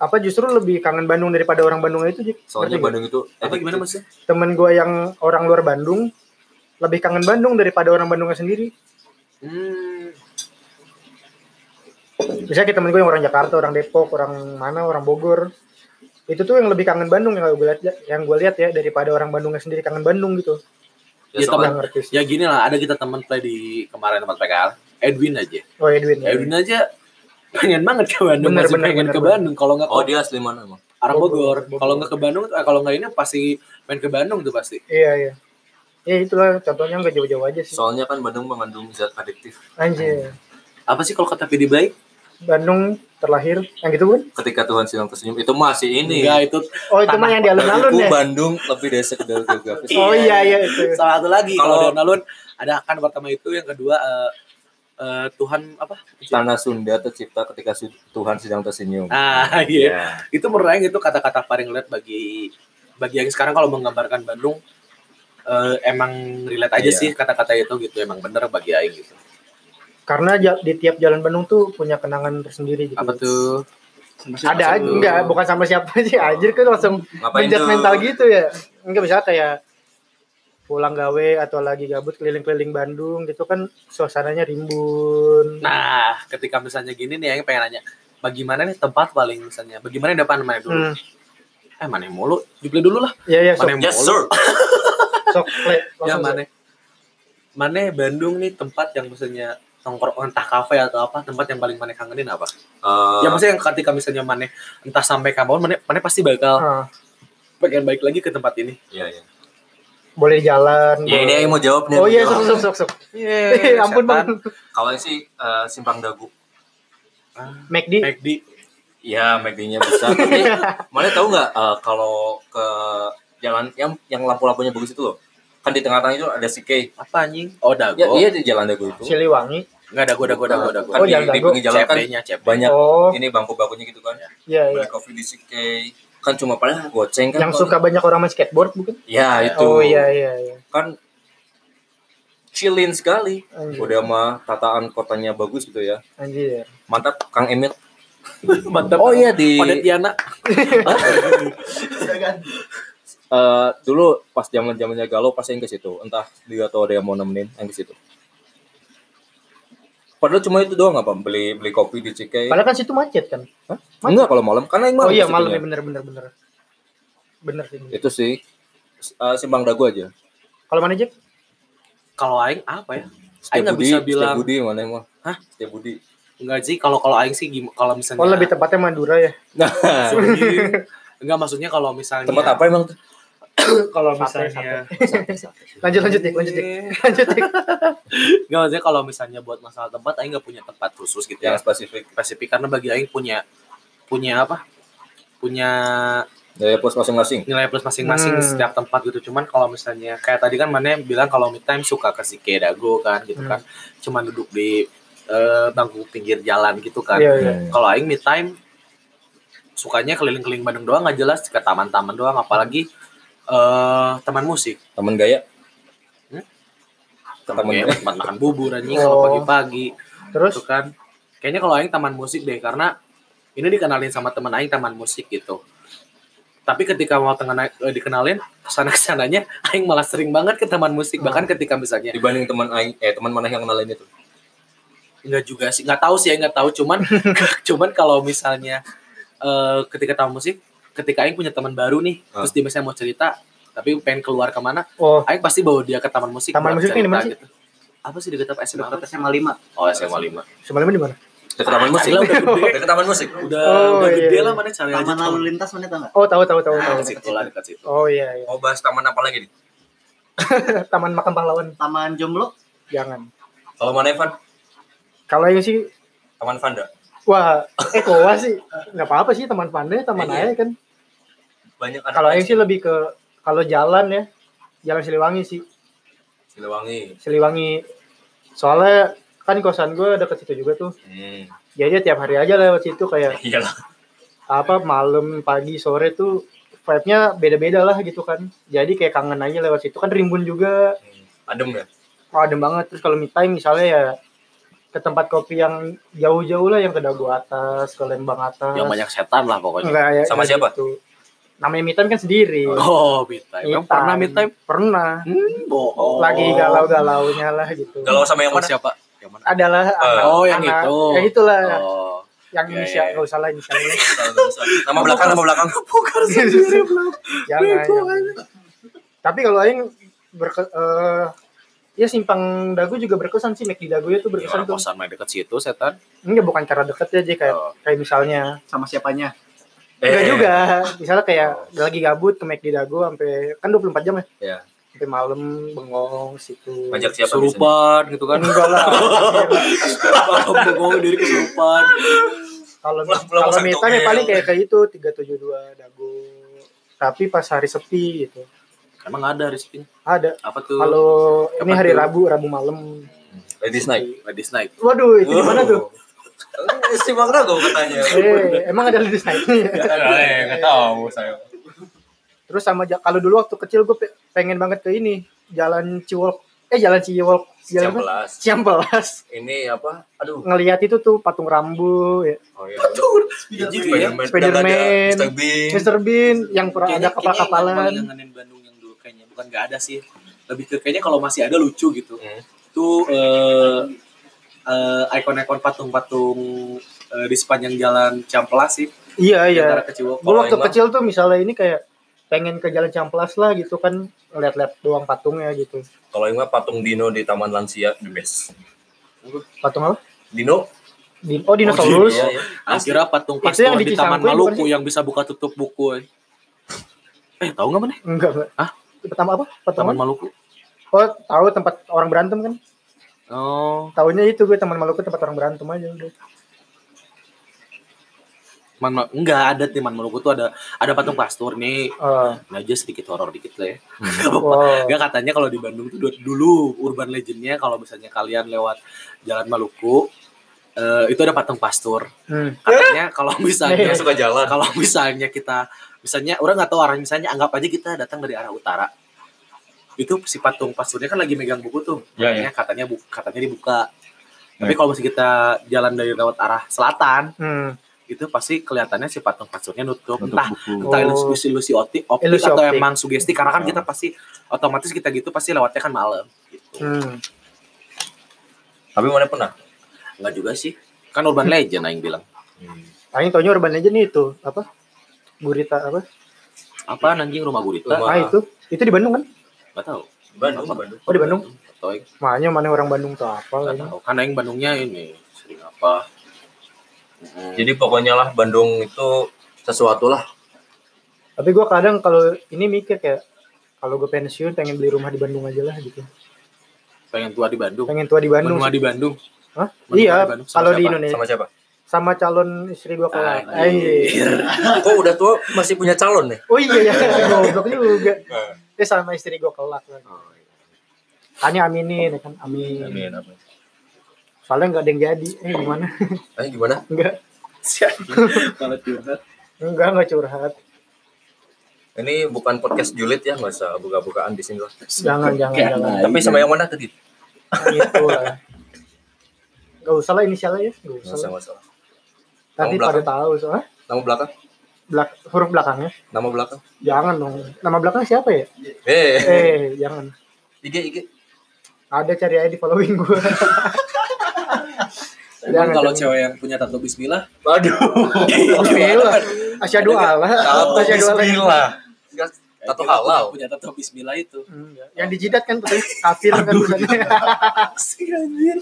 Speaker 2: apa justru lebih kangen Bandung daripada orang Bandung itu Jack
Speaker 3: soalnya
Speaker 2: Ngerti nggak?
Speaker 3: Bandung itu
Speaker 1: apa gimana maksudnya
Speaker 2: temen gue yang orang luar Bandung lebih kangen Bandung daripada orang Bandungnya sendiri
Speaker 1: hmm,
Speaker 2: misalnya kayak temen gue yang orang Jakarta orang Depok orang mana orang Bogor itu tuh yang lebih kangen Bandung yang gue lihat yang gue lihat ya daripada orang Bandungnya sendiri kangen Bandung gitu
Speaker 1: Ya,
Speaker 3: soalnya-
Speaker 2: Nggak ngerti sih.
Speaker 1: ya gini lah ada kita teman play di kemarin tempat PKL Edwin aja
Speaker 2: oh
Speaker 3: Iya.
Speaker 2: Edwin ya.
Speaker 1: Edwin aja pengen banget ke Bandung
Speaker 2: Bener,
Speaker 1: masih
Speaker 2: bener,
Speaker 1: pengen
Speaker 2: bener,
Speaker 1: ke
Speaker 2: bener.
Speaker 1: Bandung kalau nggak
Speaker 3: Oh
Speaker 1: ke
Speaker 3: dia asli mana emang?
Speaker 1: arah Bogor
Speaker 2: Bogor.
Speaker 1: kalau nggak ke Bandung eh, kalau nggak ini pasti pengen ke Bandung tuh pasti
Speaker 2: iya iya ya itulah contohnya nggak jauh-jauh aja sih
Speaker 3: Soalnya kan Bandung mengandung zat adiktif.
Speaker 2: anjir
Speaker 1: apa sih kalau kata Pidi Baik
Speaker 2: Bandung terlahir yang gitu kan
Speaker 3: Ketika Tuhan sedang tersenyum itu masih ini.
Speaker 1: Enggak, itu
Speaker 2: oh itu
Speaker 1: Tanah
Speaker 2: mah yang di alun-alun
Speaker 3: Bagiku
Speaker 2: ya
Speaker 3: Bandung lebih dari sekedar geografis.
Speaker 2: oh iya iya itu
Speaker 1: salah satu lagi kalau
Speaker 3: Kalau-
Speaker 1: daun alun ada akan pertama itu yang kedua eh, eh, Tuhan apa
Speaker 3: Tanah Sunda tercipta ketika su- Tuhan sedang tersenyum.
Speaker 1: ah iya
Speaker 3: Iya.
Speaker 1: itu menurut Aing itu kata-kata paling relate bagi bagi yang sekarang kalau menggambarkan Bandung eh, emang relate aja
Speaker 3: Iya.
Speaker 1: sih kata-kata itu gitu emang bener bagi Aing gitu
Speaker 2: karena ja- di tiap jalan Bandung tuh punya kenangan tersendiri gitu
Speaker 1: apa tuh
Speaker 2: ada aja enggak bukan sama siapa sih anjir kan langsung
Speaker 3: Ngapain
Speaker 2: menjat
Speaker 3: tuh?
Speaker 2: mental gitu ya enggak bisa kayak pulang gawe atau lagi gabut keliling-keliling Bandung gitu kan suasananya rimbun
Speaker 1: nah ketika misalnya gini nih Aing pengen nanya bagaimana nih tempat paling misalnya bagaimana yang depan mana dulu
Speaker 2: hmm.
Speaker 1: eh mana yang mulu dibeli dulu lah
Speaker 2: ya ya
Speaker 1: mana
Speaker 2: sok
Speaker 1: yang
Speaker 3: Yes
Speaker 1: mulu?
Speaker 3: sir.
Speaker 2: sok le,
Speaker 1: ya
Speaker 2: langsung
Speaker 1: mana mana Bandung nih tempat yang misalnya nongkrong entah kafe atau apa tempat yang paling mana kangenin apa
Speaker 3: Eh,
Speaker 1: ya maksudnya yang ketika misalnya mana entah sampai kapan mana mana pasti bakal
Speaker 2: Ah,
Speaker 1: pengen balik lagi ke tempat ini
Speaker 3: iya, iya.
Speaker 2: boleh jalan
Speaker 3: Ya ini
Speaker 2: boleh-
Speaker 3: yang mau jawab nih.
Speaker 2: oh
Speaker 3: yang
Speaker 2: iya
Speaker 3: mau
Speaker 2: sok
Speaker 3: jawab.
Speaker 2: sok sok sok
Speaker 1: Yeay,
Speaker 2: ampun bang
Speaker 1: setan.
Speaker 3: Kalau yang sih eh, simpang dagu.
Speaker 2: McD
Speaker 1: McD.
Speaker 3: Ya, McD-nya besar. Tapi, mana tahu nggak eh, kalau ke jalan yang yang lampu-lampunya bagus itu loh. Kan di tengah-tengah itu ada si K.
Speaker 1: Apa anjing? Oh, dago.
Speaker 3: Ya, iya di jalan dagu itu.
Speaker 2: Siliwangi
Speaker 1: Enggak dago, dago, dago, dago.
Speaker 3: Kan
Speaker 2: Oh,
Speaker 3: di,
Speaker 2: jalan
Speaker 3: di
Speaker 2: dagu.
Speaker 3: pinggir jalan kan
Speaker 1: CP-nya, CP.
Speaker 3: banyak
Speaker 2: oh
Speaker 3: ini bangku-bangkunya gitu kan.
Speaker 2: iya iya
Speaker 3: Beli kopi di si K. Kan cuma padahal goceng kan.
Speaker 2: yang suka banyak orang main skateboard bukan
Speaker 3: Ya, itu.
Speaker 2: oh iya iya iya
Speaker 3: Kan chillin sekali.
Speaker 2: Anjir.
Speaker 3: Udah mah tataan kotanya bagus gitu ya.
Speaker 2: anjir
Speaker 3: Mantap Kang Emil.
Speaker 1: Mantap.
Speaker 3: Oh iya di
Speaker 1: Pontianak.
Speaker 3: eh, dulu pas zaman zamannya galau pasti yang ke situ. Entah dia atau ada yang mau nemenin yang ke situ. Padahal cuma itu doang apa beli beli kopi di Cikei.
Speaker 2: padahal kan situ macet kan
Speaker 3: Hah? Enggak kalau malam karena yang malam. Iya.
Speaker 2: oh iya
Speaker 3: ke
Speaker 2: malam ya
Speaker 3: situnya.
Speaker 2: bener bener bener bener sih bener.
Speaker 3: Itu sih eh, simpang dagu aja.
Speaker 2: kalau mana Jack
Speaker 1: Kalau aing apa ya?
Speaker 3: Setia
Speaker 1: Aing nggak
Speaker 3: Budi,
Speaker 1: bisa
Speaker 3: Setia
Speaker 1: bilang.
Speaker 3: Budi mana emang?
Speaker 1: Hah?
Speaker 3: Setia Budi.
Speaker 1: Enggak sih, kalau kalau aing sih gim- kalau misalnya
Speaker 2: oh lebih tepatnya Madura ya
Speaker 3: Nah,
Speaker 1: Anjing. Enggak maksudnya kalau misalnya
Speaker 3: tempat apa emang? tuh?
Speaker 2: kalau
Speaker 1: Misalnya-
Speaker 2: misalnya lanjut lanjut Jack lanjut Jack lanjut Jack
Speaker 1: Enggak Iya. maksudnya kalau misalnya buat masalah tempat aing enggak punya tempat khusus gitu ya.
Speaker 2: Iya.
Speaker 3: Yang spesifik.
Speaker 1: Spesifik karena bagi aing punya punya apa? Punya
Speaker 3: Dari pos masing-masing.
Speaker 1: nilai plus masing-masing di
Speaker 2: Hmm.
Speaker 1: setiap tempat gitu cuman kalau misalnya kayak tadi kan mana bilang kalau me time suka ke si Kedago kan gitu
Speaker 2: Hmm.
Speaker 1: kan cuman duduk di eh, bangku pinggir jalan gitu kan
Speaker 2: iya iya
Speaker 1: kalau aing me time sukanya keliling-keliling Bandung doang nggak jelas ke taman-taman doang apalagi eh teman musik
Speaker 3: Taman gaya.
Speaker 1: Hmm?
Speaker 3: Ke Taman
Speaker 1: Kayak
Speaker 3: gaya.
Speaker 1: tempat makan bubur anjing
Speaker 2: Oh.
Speaker 1: kalau pagi-pagi
Speaker 2: terus
Speaker 1: gitu kan kayaknya kalau aing taman musik deh karena ini dikenalin sama teman aing taman musik gitu tapi ketika mau tengena, eh, dikenalin kesana kesananya aing malah sering banget ke taman musik
Speaker 2: Oh.
Speaker 1: bahkan ketika misalnya
Speaker 3: Dibanding teman aing- eh teman mana yang kenalin itu?
Speaker 1: nggak juga sih nggak tahu sih aing nggak tahu cuman cuman kalau misalnya eh, ketika taman musik ketika aing punya teman baru nih
Speaker 3: Ah.
Speaker 1: terus dia misalnya mau cerita tapi pengen keluar kemana
Speaker 2: oh
Speaker 1: aing pasti bawa dia ke taman musik buat
Speaker 2: Taman musik ini
Speaker 1: cerita
Speaker 2: mana sih?
Speaker 1: gitu. apa sih deket apa SMA
Speaker 4: Dekat SMA 5.
Speaker 1: oh SMA lima
Speaker 2: semalam di mana
Speaker 3: Dekat taman musik.
Speaker 1: Carilah udah gede.
Speaker 3: Dekat taman musik.
Speaker 1: udah
Speaker 2: Oh,
Speaker 1: udah gede
Speaker 2: iya.
Speaker 1: lah mana cari aja
Speaker 4: Taman
Speaker 1: taman-
Speaker 4: lalu lintas mana tau nggak?
Speaker 2: oh tahu tahu tahu tahu
Speaker 1: dekat situ lah dekat situ
Speaker 2: oh iya iya
Speaker 3: Mau bahas taman apa lagi nih?
Speaker 2: taman makam pahlawan
Speaker 4: Taman Jomblo.
Speaker 2: jangan
Speaker 3: Kalau mana Evan?
Speaker 2: kalau yang sih
Speaker 3: Taman Vanda.
Speaker 2: wah eh kowa sih nggak apa apa sih taman pandai taman
Speaker 3: Iya.
Speaker 2: air kan
Speaker 3: Banyak anak
Speaker 2: kalau yang sih lebih ke kalau jalan ya jalan Siliwangi sih
Speaker 3: Siliwangi.
Speaker 2: Siliwangi soalnya kan kosan gue deket situ juga tuh
Speaker 3: Hmm.
Speaker 2: jadi tiap hari aja lewat situ kayak
Speaker 3: Iyalah.
Speaker 2: apa malam pagi sore tuh vibe-nya beda-beda lah gitu kan jadi kayak kangen aja lewat situ kan rimbun juga
Speaker 3: Hmm. Adem ya.
Speaker 2: oh, adem banget terus kalau me time misalnya ya ke tempat kopi yang jauh-jauh lah yang ke Dago atas ke Lembang atas
Speaker 1: yang banyak setan lah pokoknya
Speaker 2: Enggak, ya,
Speaker 3: Sama
Speaker 2: kayak
Speaker 3: siapa?
Speaker 2: gitu. namanya me time kan sendiri
Speaker 1: oh mid time
Speaker 2: Me
Speaker 1: Emang pernah mid time
Speaker 2: pernah
Speaker 1: hmm, bohong
Speaker 2: lagi galau-galaunya lah gitu
Speaker 3: Galau sama yang
Speaker 1: Sama
Speaker 3: mana?
Speaker 1: siapa yang mana
Speaker 2: adalah anak,
Speaker 1: oh yang
Speaker 2: anak.
Speaker 1: itu
Speaker 2: ya itulah
Speaker 1: oh
Speaker 2: yang
Speaker 1: Iya,
Speaker 2: Indonesia
Speaker 1: iya.
Speaker 2: nggak usah lah inisialnya
Speaker 3: Nama belakang, nama belakang.
Speaker 1: bukan sendiri belum
Speaker 2: jangan, jangan. tapi kalau Aing berke, eh, ya simpang dagu juga berkesan sih McD dagu
Speaker 1: ya,
Speaker 2: itu
Speaker 1: orang
Speaker 2: berkesan tuh
Speaker 1: kosan main dekat situ setan
Speaker 2: enggak bukan cara deket ya jadi kayak
Speaker 1: Oh.
Speaker 2: kayak misalnya
Speaker 4: Sama siapanya?
Speaker 3: Eh,
Speaker 2: enggak juga misalnya kayak lagi gabut ke McD dagu sampai kan 24 jam ya
Speaker 3: Iya.
Speaker 2: sampai malam bengong situ
Speaker 3: Ngajak siapa biasanya?
Speaker 1: Surupan gitu kan.
Speaker 2: enggak lah Iya.
Speaker 1: Bengong diri kesurupan.
Speaker 2: kalau
Speaker 3: Pulang- pulang
Speaker 2: kalau
Speaker 3: satu
Speaker 2: me time ya
Speaker 3: mil.
Speaker 2: paling kayak kayak itu tiga tujuh dua dago tapi pas hari sepi gitu
Speaker 1: Emang ada rezekinya.
Speaker 2: ada
Speaker 1: Apa tuh?
Speaker 2: kalau ini
Speaker 1: Kapan
Speaker 2: hari
Speaker 1: tuh?
Speaker 2: Rabu Rabu malam
Speaker 3: Ladies night.
Speaker 1: Ladies night.
Speaker 2: waduh itu di mana tuh
Speaker 3: Eh, Si Bang Rago katanya.
Speaker 2: eh emang ada ladies night
Speaker 3: Eh, nggak tahu saya.
Speaker 2: ya? terus sama ja- kalau dulu waktu kecil gue pengen banget ke ini jalan Ciwolk eh jalan Ciwolk jalan apa?
Speaker 3: belas.
Speaker 2: Ciambelas
Speaker 3: Ini apa? Aduh.
Speaker 2: ngelihat itu tuh patung rambu ya.
Speaker 3: Oh iya.
Speaker 1: Spiderman.
Speaker 2: Spiderman.
Speaker 3: Mr. Bean.
Speaker 2: Mr. Bean yang pernah ada
Speaker 1: Kayaknya
Speaker 2: kapal-kapalan
Speaker 1: yang ngangenin Bandung yang dulu kayaknya. Bukan nggak ada sih. Lebih ke kayaknya kalau masih ada lucu gitu.
Speaker 3: Hmm.
Speaker 1: Itu eh, eh, ikon-ikon patung-patung eh, di sepanjang jalan Ciamplas sih.
Speaker 2: iya
Speaker 1: Di
Speaker 2: iya
Speaker 1: antara kecil.
Speaker 2: gue
Speaker 3: Kalau yang
Speaker 2: waktu
Speaker 3: mah-
Speaker 2: kecil tuh misalnya ini kayak pengen ke jalan Ciamplas lah gitu kan lihat-lihat doang patungnya gitu
Speaker 3: Kalau yang mah patung Dino di Taman Lansia the best.
Speaker 2: patung apa
Speaker 3: Dino?
Speaker 2: Din oh dinosaurus
Speaker 3: Iya, iya.
Speaker 1: Akhirnya Nah, patung
Speaker 2: Itu yang
Speaker 1: pastor
Speaker 2: di
Speaker 1: di Taman
Speaker 2: Cisangkuy bukan
Speaker 1: Maluku
Speaker 2: sih?
Speaker 1: yang bisa buka tutup buku. Eh, tahu nggak mana?
Speaker 2: enggak enggak
Speaker 1: Hah?
Speaker 2: pertama apa
Speaker 1: Taman
Speaker 2: patungan
Speaker 1: Maluku.
Speaker 2: oh tahu tempat orang berantem kan
Speaker 1: Oh,
Speaker 2: tahunya itu gue teman Maluku tempat orang berantem aja udah
Speaker 1: Man, Ma- enggak ada Taman Maluku tuh ada ada patung pastor nih.
Speaker 2: oh,
Speaker 1: Nah, aja sedikit horor dikit lah ya. Gak apa-apa.
Speaker 2: wow.
Speaker 1: Enggak katanya kalau di Bandung tuh du- dulu urban legendnya kalau misalnya kalian lewat Jalan Maluku eh, itu ada patung pastur.
Speaker 2: Hmm.
Speaker 1: Katanya kalau
Speaker 3: Yang
Speaker 1: misalnya
Speaker 3: suka
Speaker 1: Eh,
Speaker 3: jalan.
Speaker 1: kalau misalnya kita misalnya orang nggak tahu arah misalnya anggap aja kita datang dari arah utara itu si patung pasturnya kan lagi megang buku tuh
Speaker 3: Ya,
Speaker 1: katanya katanya bu- katanya dibuka tapi kalau misalnya kita jalan dari lewat arah selatan
Speaker 2: Hmm.
Speaker 1: itu pasti kelihatannya si patung pasturnya nutup,
Speaker 3: Nutup
Speaker 1: entah
Speaker 3: buku.
Speaker 1: entah
Speaker 2: Oh.
Speaker 1: ilusi ilusi optik, optik
Speaker 2: Ilusi
Speaker 1: atau
Speaker 2: optik.
Speaker 1: emang sugesti karena kan
Speaker 3: Hmm.
Speaker 1: kita pasti otomatis kita gitu pasti lewatnya kan malam gitu
Speaker 2: Hmm.
Speaker 3: Tapi mana pernah?
Speaker 1: nggak juga sih kan urban legend aing bilang
Speaker 3: Hmm.
Speaker 2: Aing Nah, taunya urban legend itu apa? Gurita apa?
Speaker 1: apa anjing rumah gurita
Speaker 3: Rumah- Wah.
Speaker 2: Ah itu itu di Bandung kan?
Speaker 1: nggak tahu
Speaker 3: Bandung,
Speaker 1: Apa?
Speaker 3: Bandung.
Speaker 2: Oh di Bandung.
Speaker 1: atau aing
Speaker 2: Makanya mana orang Bandung tuh apa gitu.
Speaker 1: nggak
Speaker 2: ini?
Speaker 1: tahu
Speaker 3: Iya.
Speaker 1: kan aing Bandungnya ini sering apa
Speaker 3: Jadi pokoknya lah Bandung itu sesuatu lah.
Speaker 2: Tapi gua kadang kalau ini mikir kayak kalau gue pensiun pengen beli rumah di Bandung aja lah gitu.
Speaker 1: pengen tua di Bandung
Speaker 2: Pengen tua di Bandung.
Speaker 1: menua di Bandung
Speaker 2: Hah?
Speaker 1: Menua
Speaker 2: Iya,
Speaker 1: di Bandung sama
Speaker 2: kalau di
Speaker 1: siapa?
Speaker 2: Indonesia
Speaker 3: Sama siapa?
Speaker 2: sama calon istri gua kalau
Speaker 1: Anjir.
Speaker 2: Anjir.
Speaker 3: Kok udah tua masih punya calon nih?
Speaker 2: Oh iya ya, goblok juga. Eh sama istri gua kelak kan. Hanya aminin ya kan, amin.
Speaker 3: Amin. amin.
Speaker 2: Soalnya nggak ada yang jadi. Eh gimana?
Speaker 3: Eh gimana?
Speaker 2: Enggak,
Speaker 1: Si anjing, kalau curhat
Speaker 2: enggak enggak curhat.
Speaker 3: Ini bukan podcast julid ya, nggak usah buka-bukaan di sini lah.
Speaker 2: Jangan jangan
Speaker 1: Kayak
Speaker 2: jangan.
Speaker 1: naik.
Speaker 3: Tapi Iya. sama yang mana tadi?
Speaker 2: gitu lah. Gak usah lah inisialnya ya, gak
Speaker 3: Nggak
Speaker 2: usah.
Speaker 3: usah,
Speaker 2: lah.
Speaker 3: nggak usah.
Speaker 2: Nanti
Speaker 3: Nama
Speaker 2: pada
Speaker 3: belakang.
Speaker 2: tahu soalnya
Speaker 3: Nama belakang?
Speaker 2: belak huruf belakangnya.
Speaker 3: Nama belakang?
Speaker 2: Jangan dong. Nama belakang siapa ya?
Speaker 3: Eh,
Speaker 2: Eh, jangan.
Speaker 3: IG, IG.
Speaker 2: Ada cari aja di following gue.
Speaker 1: Emang
Speaker 2: Jangan,
Speaker 1: kalau
Speaker 2: jangan.
Speaker 1: cewek yang punya tato bismillah
Speaker 3: Waduh.
Speaker 1: Iya.
Speaker 3: iya.
Speaker 2: Bismillah. Asyhadu Allah.
Speaker 3: Tato
Speaker 2: Asyhadu Allah.
Speaker 3: Bismillah. Nggak, Tato
Speaker 1: Kira-kira
Speaker 3: halal.
Speaker 1: gitu, punya tato bismillah itu
Speaker 2: Enggak. Yang dijidat kan putih kafir kan tulisannya.
Speaker 1: Asik anjir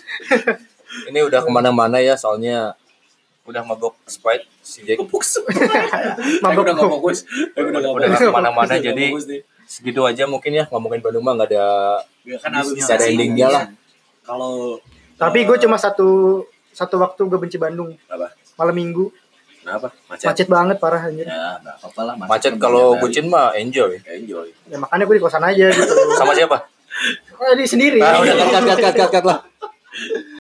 Speaker 3: Ini udah kemana-mana ya, soalnya udah mabok Sprite si Jack.
Speaker 1: Kepuk semua.
Speaker 2: Mabok.
Speaker 1: Udah nggak fokus. Udah nggak
Speaker 3: Udah
Speaker 1: fokus.
Speaker 3: kemana-mana,
Speaker 1: Udah nggak
Speaker 3: jadi-
Speaker 1: fokus nih.
Speaker 3: Segitu aja mungkin ya ngomongin Bandung mah nggak ada
Speaker 1: Nggak, kan harus
Speaker 3: Nggak ada
Speaker 1: sih.
Speaker 3: endingnya lah.
Speaker 1: Kalau
Speaker 2: Tapi gue cuma satu satu waktu gue benci Bandung
Speaker 1: apa?
Speaker 2: malam minggu
Speaker 1: Kenapa? Macet.
Speaker 2: macet banget parah anjir
Speaker 1: Ya, nggak apa-apa lah.
Speaker 3: macet
Speaker 1: kan
Speaker 3: kalau
Speaker 1: banyak
Speaker 3: bucin mah enjoy.
Speaker 1: kali. Ya, enjoy.
Speaker 2: ya makanya gue di kosan aja gitu
Speaker 3: Sama siapa?
Speaker 2: Eh, di sendiri
Speaker 3: Ah, Nah, udah kat kat kat kat kat lah.